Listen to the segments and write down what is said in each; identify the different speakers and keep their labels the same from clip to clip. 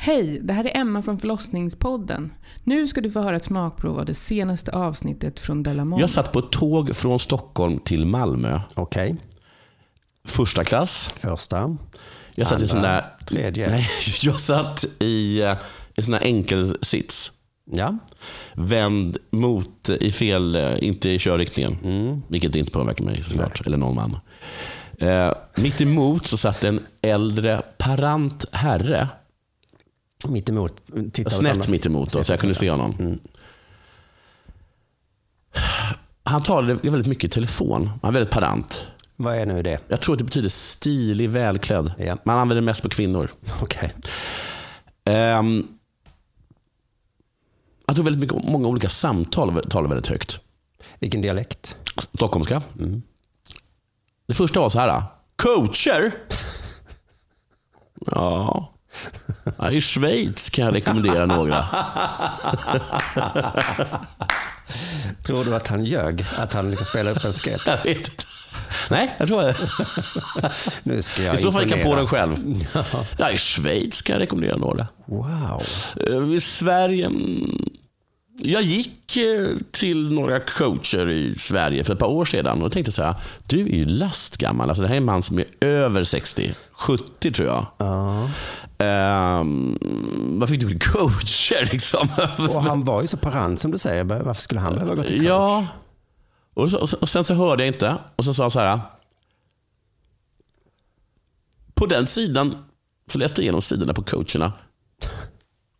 Speaker 1: Hej, det här är Emma från förlossningspodden. Nu ska du få höra ett smakprov av det senaste avsnittet från Della Moll.
Speaker 2: Jag satt på ett tåg från Stockholm till Malmö.
Speaker 3: Okej,
Speaker 2: Första klass.
Speaker 3: första.
Speaker 2: Jag satt i
Speaker 3: Andra,
Speaker 2: sån där...
Speaker 3: tredje.
Speaker 2: Nej, jag satt i eh, en sån här enkel sits.
Speaker 3: Ja,
Speaker 2: Vänd mot, eh, i fel, eh, inte i körriktningen. Vilket inte påverkar mig såklart. Eller någon man. Eh, mitt emot så satt en äldre parant herre.
Speaker 3: mitt emot. Titta åt
Speaker 2: Snett
Speaker 3: andra-
Speaker 2: mitt emot då, så jag kunde se honom. Han talade väldigt mycket i telefon. Han var väldigt parant.
Speaker 3: Vad är nu det?
Speaker 2: Jag tror att det betyder stilig, välklädd.
Speaker 3: Ja.
Speaker 2: Man använder det mest på kvinnor.
Speaker 3: Okej.
Speaker 2: Ehm, han tog väldigt mycket, många olika samtal talade väldigt högt.
Speaker 3: Vilken dialekt?
Speaker 2: Stockholmska. Det första var så här. Coacher? Ja. ja. I Schweiz kan jag rekommendera några.
Speaker 3: Tror du att han ljög? Att han liksom spelade upp en sketch?
Speaker 2: Jag vet inte. Nej, jag tror jag.
Speaker 3: Nu ska
Speaker 2: I
Speaker 3: jag
Speaker 2: så fall gick jag på
Speaker 3: imponera.
Speaker 2: den själv. Ja, I Schweiz kan jag rekommendera några.
Speaker 3: Wow.
Speaker 2: Eh, I Sverige... mm, Jag gick eh, till några coacher i Sverige för ett par år sedan och tänkte så här, du är ju lastgammal. Alltså det här är en man som är över 60, 70 tror jag. Ehm, vad fick du för coacher liksom?
Speaker 3: Och han var ju så parant som du säger. Varför skulle han behöva gå till coach?
Speaker 2: ja. Och, så, och sen så hörde jag inte och så sa han så här. På den sidan så läste jag igenom sidorna på coacherna.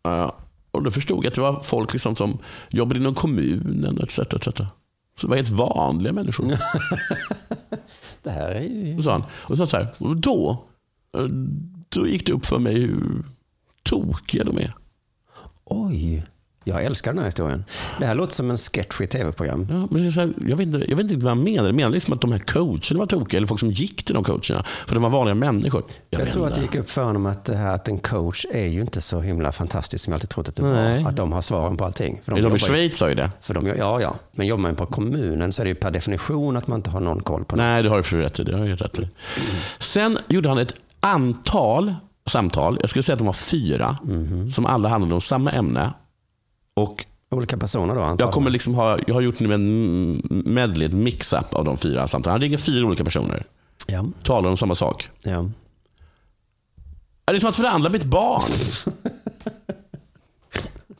Speaker 2: Eh, Och då förstod jag att det var folk liksom som jobbade inom kommunen etc. etc. Så det var helt vanliga människor.
Speaker 3: Det här är ju...
Speaker 2: Och sa han. Och så, så här, och då, eh, då gick det upp för mig hur tokiga de är.
Speaker 3: Oj. Jag älskar den här historien. Det här låter som en sketch i ett tv-program.
Speaker 2: Ja, men det är så här, jag, vet inte, jag vet inte vad han menar. Menar liksom att de här coacherna var tokiga eller folk som gick till de coacherna? För de var vanliga människor. Jag,
Speaker 3: Jag,
Speaker 2: vet
Speaker 3: tror att
Speaker 2: inte.
Speaker 3: det gick upp för honom att, det här, att en coach är ju inte så himla fantastisk som jag alltid trott att det var.
Speaker 2: Nej.
Speaker 3: Att de har svaren på allting. För
Speaker 2: de, de
Speaker 3: jobbar
Speaker 2: i
Speaker 3: ju-
Speaker 2: Schweiz sa ju det.
Speaker 3: För de, ja, ja. Men jobbar man på kommunen så är det ju per definition att man inte har någon koll på det.
Speaker 2: Nej, det har du för rätt i. Det har jag rätt i. Sen gjorde han ett antal samtal. Jag skulle säga att de var fyra.
Speaker 3: Mhm.
Speaker 2: Som alla handlade om samma ämne. Och
Speaker 3: Olika personer då antar
Speaker 2: jag, kommer liksom ha, jag har gjort nu en medley, ett mix-up av de fyra samtalen. Han ringer fyra olika personer.
Speaker 3: Ja,
Speaker 2: Talar om samma sak.
Speaker 3: ja.
Speaker 2: Ja, Det är som att förhandla med ett barn.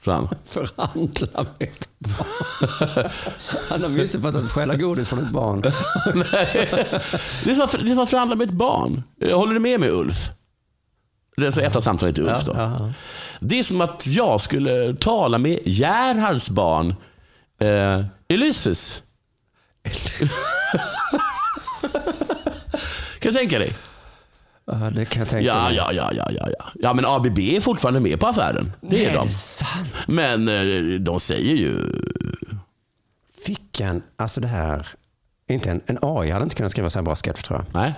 Speaker 2: Så han.
Speaker 3: Förhandla med ett barn. Han har missuppfattat att stjäla godis från ett barn.
Speaker 2: Det är som att, det är som att förhandla med ett barn. Eh, Håller du med mig Ulf? Det är så ett av samtalen till Ulf. Då. Det är som att jag skulle tala med Gerhards barn eh, Ulysses. kan du tänka dig?
Speaker 3: Ja, det kan jag tänka
Speaker 2: Ja,
Speaker 3: mig.
Speaker 2: ja, ja, ja, ja, ja. Ja, men ABB är fortfarande med på affären. Det är
Speaker 3: Nej,
Speaker 2: de.
Speaker 3: det sant?
Speaker 2: Men eh, de säger ju...
Speaker 3: Fick en, alltså det här, inte en, en AI hade inte kunnat skriva så här bra sketch tror jag.
Speaker 2: Nej.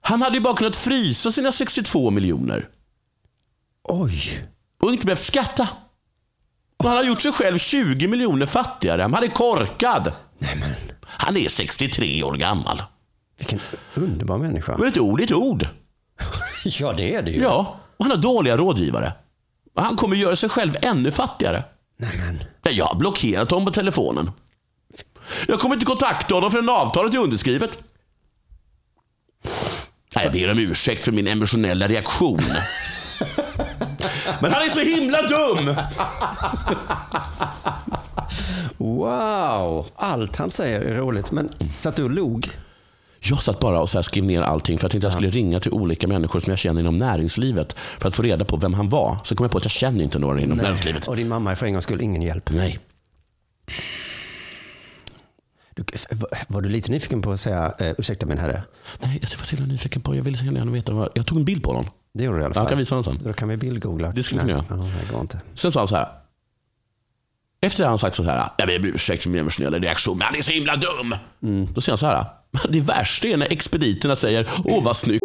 Speaker 2: Han hade ju bara kunnat frysa sina 62 miljoner.
Speaker 3: Oj,
Speaker 2: och inte behövt skatta. Och han har gjort sig själv 20 miljoner fattigare. Han är korkad.
Speaker 3: nej men
Speaker 2: Han är 63 år gammal.
Speaker 3: vilken underbar människa.
Speaker 2: Men ett ord är ett ord.
Speaker 3: Ja, det är det ju.
Speaker 2: Ja, och han har dåliga rådgivare. Och han kommer göra sig själv ännu fattigare.
Speaker 3: Nej men,
Speaker 2: Nej, Jag har blockerat honom på telefonen. Jag kommer inte kontakta honom förrän avtalet är underskrivet. Nej, jag ber om ursäkt för min emotionella reaktion. Men han är så himla dum!
Speaker 3: Wow! Allt han säger är roligt. Men
Speaker 2: Mm.
Speaker 3: satt du och log?
Speaker 2: Jag satt bara och så här skrev ner allting för jag tänkte jag skulle ringa till olika människor som jag känner inom näringslivet för att få reda på vem han var. Så kom jag på att jag känner inte några inom näringslivet.
Speaker 3: Och din mamma är för en gångs skull ingen hjälp.
Speaker 2: Nej.
Speaker 3: Du, var du lite nyfiken på att säga, eh, ursäkta min herre?
Speaker 2: Nej, jag var så himla nyfiken på. Jag ville så gärna veta. Vad... Jag tog en bild på honom.
Speaker 3: Det gjorde du i alla
Speaker 2: Ja,
Speaker 3: fall.
Speaker 2: jag kan visa honom sen.
Speaker 3: Då kan vi bildgoogla.
Speaker 2: Det skulle vi
Speaker 3: Nej.
Speaker 2: kunna
Speaker 3: Ja, det går inte.
Speaker 2: Sen sa han så här. Efter att han sagt så här. Jag ber om ursäkt för min emotionella reaktion, men han är så himla dum. Mm, Då säger han så här. Det värsta är när expediterna säger, åh vad snyggt.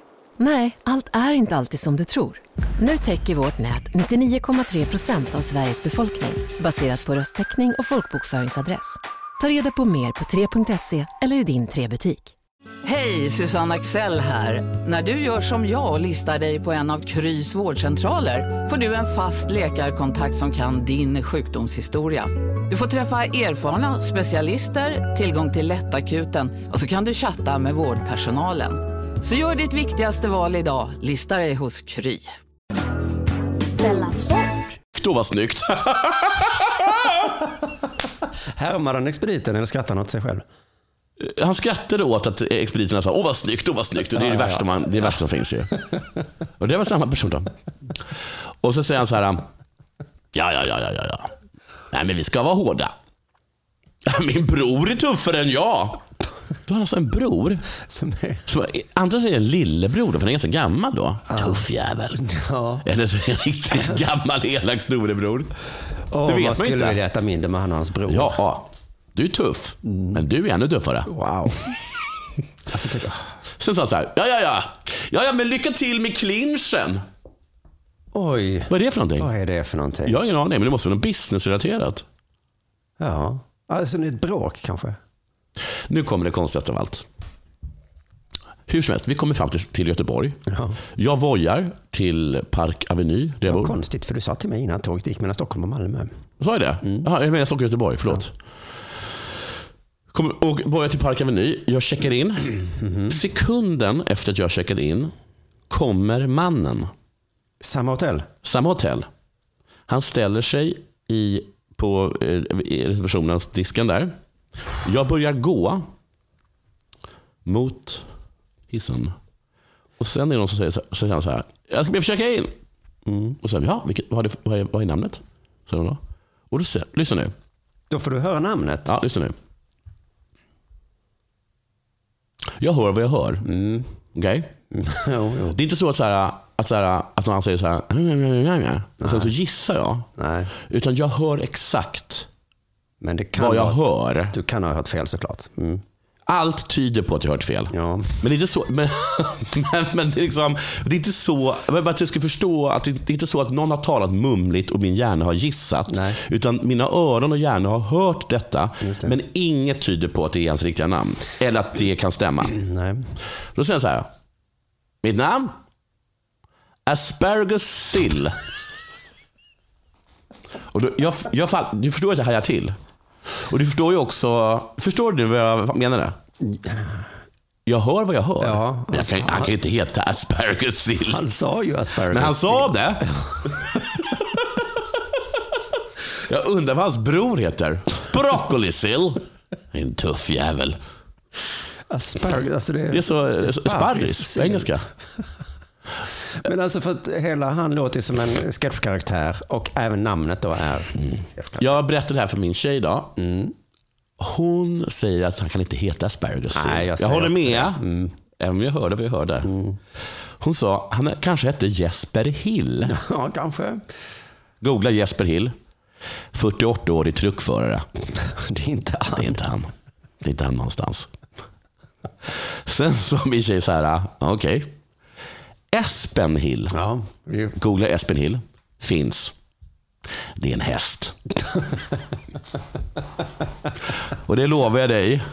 Speaker 4: Nej, allt är inte alltid som du tror. Nu täcker vårt nät 99,3 procent av Sveriges befolkning baserat på röstteckning och folkbokföringsadress. Ta reda på mer på 3.se eller i din 3-butik.
Speaker 5: Hej, Susanne Axel här. När du gör som jag och listar dig på en av Krys vårdcentraler får du en fast läkarkontakt som kan din sjukdomshistoria. Du får träffa erfarna specialister, tillgång till lättakuten och så kan du chatta med vårdpersonalen. Så gör ditt viktigaste val idag, listar dig hos Kry.
Speaker 2: Då var snyggt.
Speaker 3: Härmar han expediten eller skrattar han åt sig själv?
Speaker 2: Han skrattade åt att expediterna sa åh vad snyggt, åh vad snyggt. Och det är det värsta, man, det är det värsta som finns ju. Och det var samma person då. Och så säger han så här. Ja, ja, ja, ja, ja, ja. Nej, men vi ska vara hårda. Min bror är tuffare än jag. Du har alltså en bror.
Speaker 3: Som är...
Speaker 2: Som, andra så är det en lillebror då, för han är ganska gammal då. Tuff jävel. Eller så är det en riktigt gammal elak storebror.
Speaker 3: Åh,
Speaker 2: vet man
Speaker 3: vad skulle
Speaker 2: inte.
Speaker 3: vilja äta mindre med han och hans bror.
Speaker 2: Ja, du är tuff.
Speaker 3: Mm.
Speaker 2: Men du är ännu tuffare.
Speaker 3: Wow. alltså, typ,
Speaker 2: Sen sa han så här. Ja, ja, ja. Ja, ja, men lycka till med clinchen.
Speaker 3: oj,
Speaker 2: Vad är det för någonting?
Speaker 3: vad är det för någonting?
Speaker 2: Jag har ingen aning, men det måste vara något businessrelaterat.
Speaker 3: Ja. Alltså det är ett bråk kanske.
Speaker 2: Nu kommer det konstigaste av allt. Hur som helst, vi kommer fram till, till Göteborg.
Speaker 3: Ja.
Speaker 2: Jag vojar till Park Avenue, där jag bor.
Speaker 3: Konstigt, för du sa till mig innan tåget gick mellan Stockholm och Malmö.
Speaker 2: Sa jag det? Jaha, jag menar Stockholm Göteborg, förlåt. Kommer, och börjar till Park Avenue, jag checkar in. Sekunden efter att jag checkade in kommer mannen,
Speaker 3: Samma hotell?
Speaker 2: samma hotell. Han ställer sig i, på eh, i receptionens disken där. Jag börjar gå mot hissen. Och sen är det någon som säger så, så säger han så här. Jag ska be att få checka in. Och så säger jag, ja, vilket, vad, har du- vad, är, vad är namnet? Säger hon då. Och då säger, lyssna nu.
Speaker 3: Då får du höra namnet.
Speaker 2: Ja, lyssna nu. Jag hör vad jag hör.
Speaker 3: Mm.
Speaker 2: Okej?
Speaker 3: jo, jo.
Speaker 2: Det är inte så att, så här, att, så här, att någon säger så här. "Mm, mm, mm, mm", Och sen så gissar jag.
Speaker 3: Nej,
Speaker 2: Utan jag hör exakt
Speaker 3: men det kan
Speaker 2: vad jag
Speaker 3: vara-
Speaker 2: hör.
Speaker 3: Du kan ha hört fel såklart. Mm.
Speaker 2: Allt tyder på att jag hört fel.
Speaker 3: Ja.
Speaker 2: liksom. Men det är inte så, men, men, men det, är liksom, det är inte så, men bara att jag ska förstå att det, det är inte så att någon har talat mumligt och min hjärna har gissat.
Speaker 3: Nej.
Speaker 2: Utan mina öron och hjärna har hört detta, men inget tyder på att det är hans riktiga namn. Eller att det kan stämma.
Speaker 3: Nej.
Speaker 2: Då säger han så här. Mitt namn? Asparagus sill. Och då, jag, jag, fatt- du förstår att jag hajar till. Och du förstår ju också, förstår du vad jag menade? Jag hör vad jag hör.
Speaker 3: Ja,
Speaker 2: Men jag kan, han kan ju inte heta asparagus sill.
Speaker 3: Han sa ju asparagus.
Speaker 2: Men han sa det. Jag undrar vad hans bror heter. Broccoli sill. En tuff jävel.
Speaker 3: Asparagus, alltså det...
Speaker 2: Det är så, så sparris
Speaker 3: Sparris.
Speaker 2: på engelska.
Speaker 3: Men alltså för att hela han låter ju som en sketchkaraktär och även namnet då är...
Speaker 2: Mm. Jag berättade det här för min tjej idag. Hon säger att han kan inte heta Asparagus.
Speaker 3: Nej, jag
Speaker 2: jag,
Speaker 3: säger
Speaker 2: håller
Speaker 3: också Mm.
Speaker 2: med. Mm. Även om jag hörde vad jag hörde. Hon sa, han kanske hette Jesper Hill.
Speaker 3: Ja, kanske.
Speaker 2: Googla Jesper Hill. 48-årig truckförare.
Speaker 3: Det är inte
Speaker 2: Det
Speaker 3: han.
Speaker 2: är inte han. Det är inte han någonstans. Sen sa min tjej så här, ah, okej. Espen Hill.
Speaker 3: Ja, ju-
Speaker 2: Googla Espen Hill. Finns. Det är en häst. Och det lovar jag dig.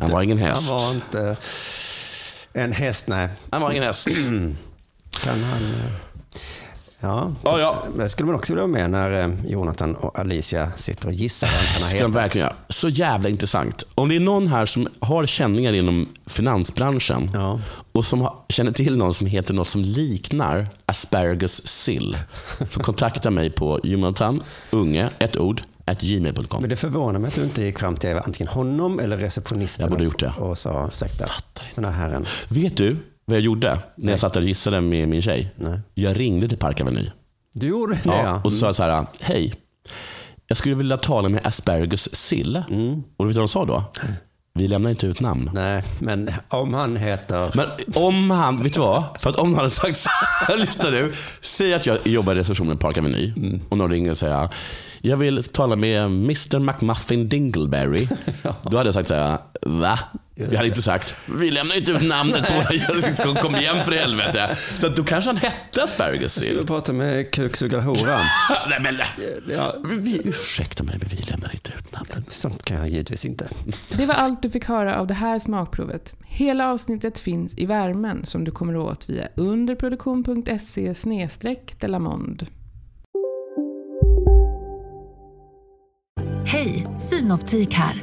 Speaker 2: Han var ingen häst.
Speaker 3: Han var inte en häst, nej.
Speaker 2: Han var ingen häst.
Speaker 3: kan han... eh, Ja,
Speaker 2: Ja, ja.
Speaker 3: det skulle man också vilja vara med när eh, Jonathan och Alicia sitter och gissar vad han har
Speaker 2: Ska de
Speaker 3: hetat.
Speaker 2: verkligen göra. Så jävla intressant. Om det är någon här som har känningar inom finansbranschen
Speaker 3: Ja.
Speaker 2: och som har, känner till någon som heter något som liknar asparagus sill så kontakta mig på Jonathan Unge, ett ord, at gmail.com.
Speaker 3: Men det förvånar mig att du inte gick fram till antingen honom eller receptionisten
Speaker 2: Jag borde
Speaker 3: och-
Speaker 2: gjort det.
Speaker 3: och sa ursäkta, den här herren.
Speaker 2: Vet du vad jag gjorde när jag satt där och gissade med min tjej?
Speaker 3: Nej.
Speaker 2: Jag ringde till Park Avenue.
Speaker 3: Du gjorde det,
Speaker 2: Ja,
Speaker 3: ja.
Speaker 2: Och så sa jag så här, hej, jag skulle vilja tala med asparagus sill. Och du vet vad de sa då? Vi lämnar inte ut namn.
Speaker 3: Nej, men om han heter...
Speaker 2: Men om han, vet du vad? För att om han hade sagt så här, lyssna nu. Säg att jag jobbar i receptionen på Park Avenue och någon ringer och säger, jag vill tala med Mr McMuffin Dingleberry. Då hade jag sagt så här, va? Jag hade inte sagt, vi lämnar inte ut namnet på våra kom igen för helvete. Så att då kanske han hette Asparagus
Speaker 3: Skulle
Speaker 2: Sill.
Speaker 3: prata med kuksugarhora.
Speaker 2: Nej men,
Speaker 3: Ja,
Speaker 2: vi, ursäkta mig men vi lämnar inte ut namnet.
Speaker 3: sånt kan jag givetvis inte.
Speaker 1: Det var allt du fick höra av det här smakprovet. Hela avsnittet finns i värmen som du kommer åt via underproduktion.se delamond.
Speaker 6: Hej, Synoptik här.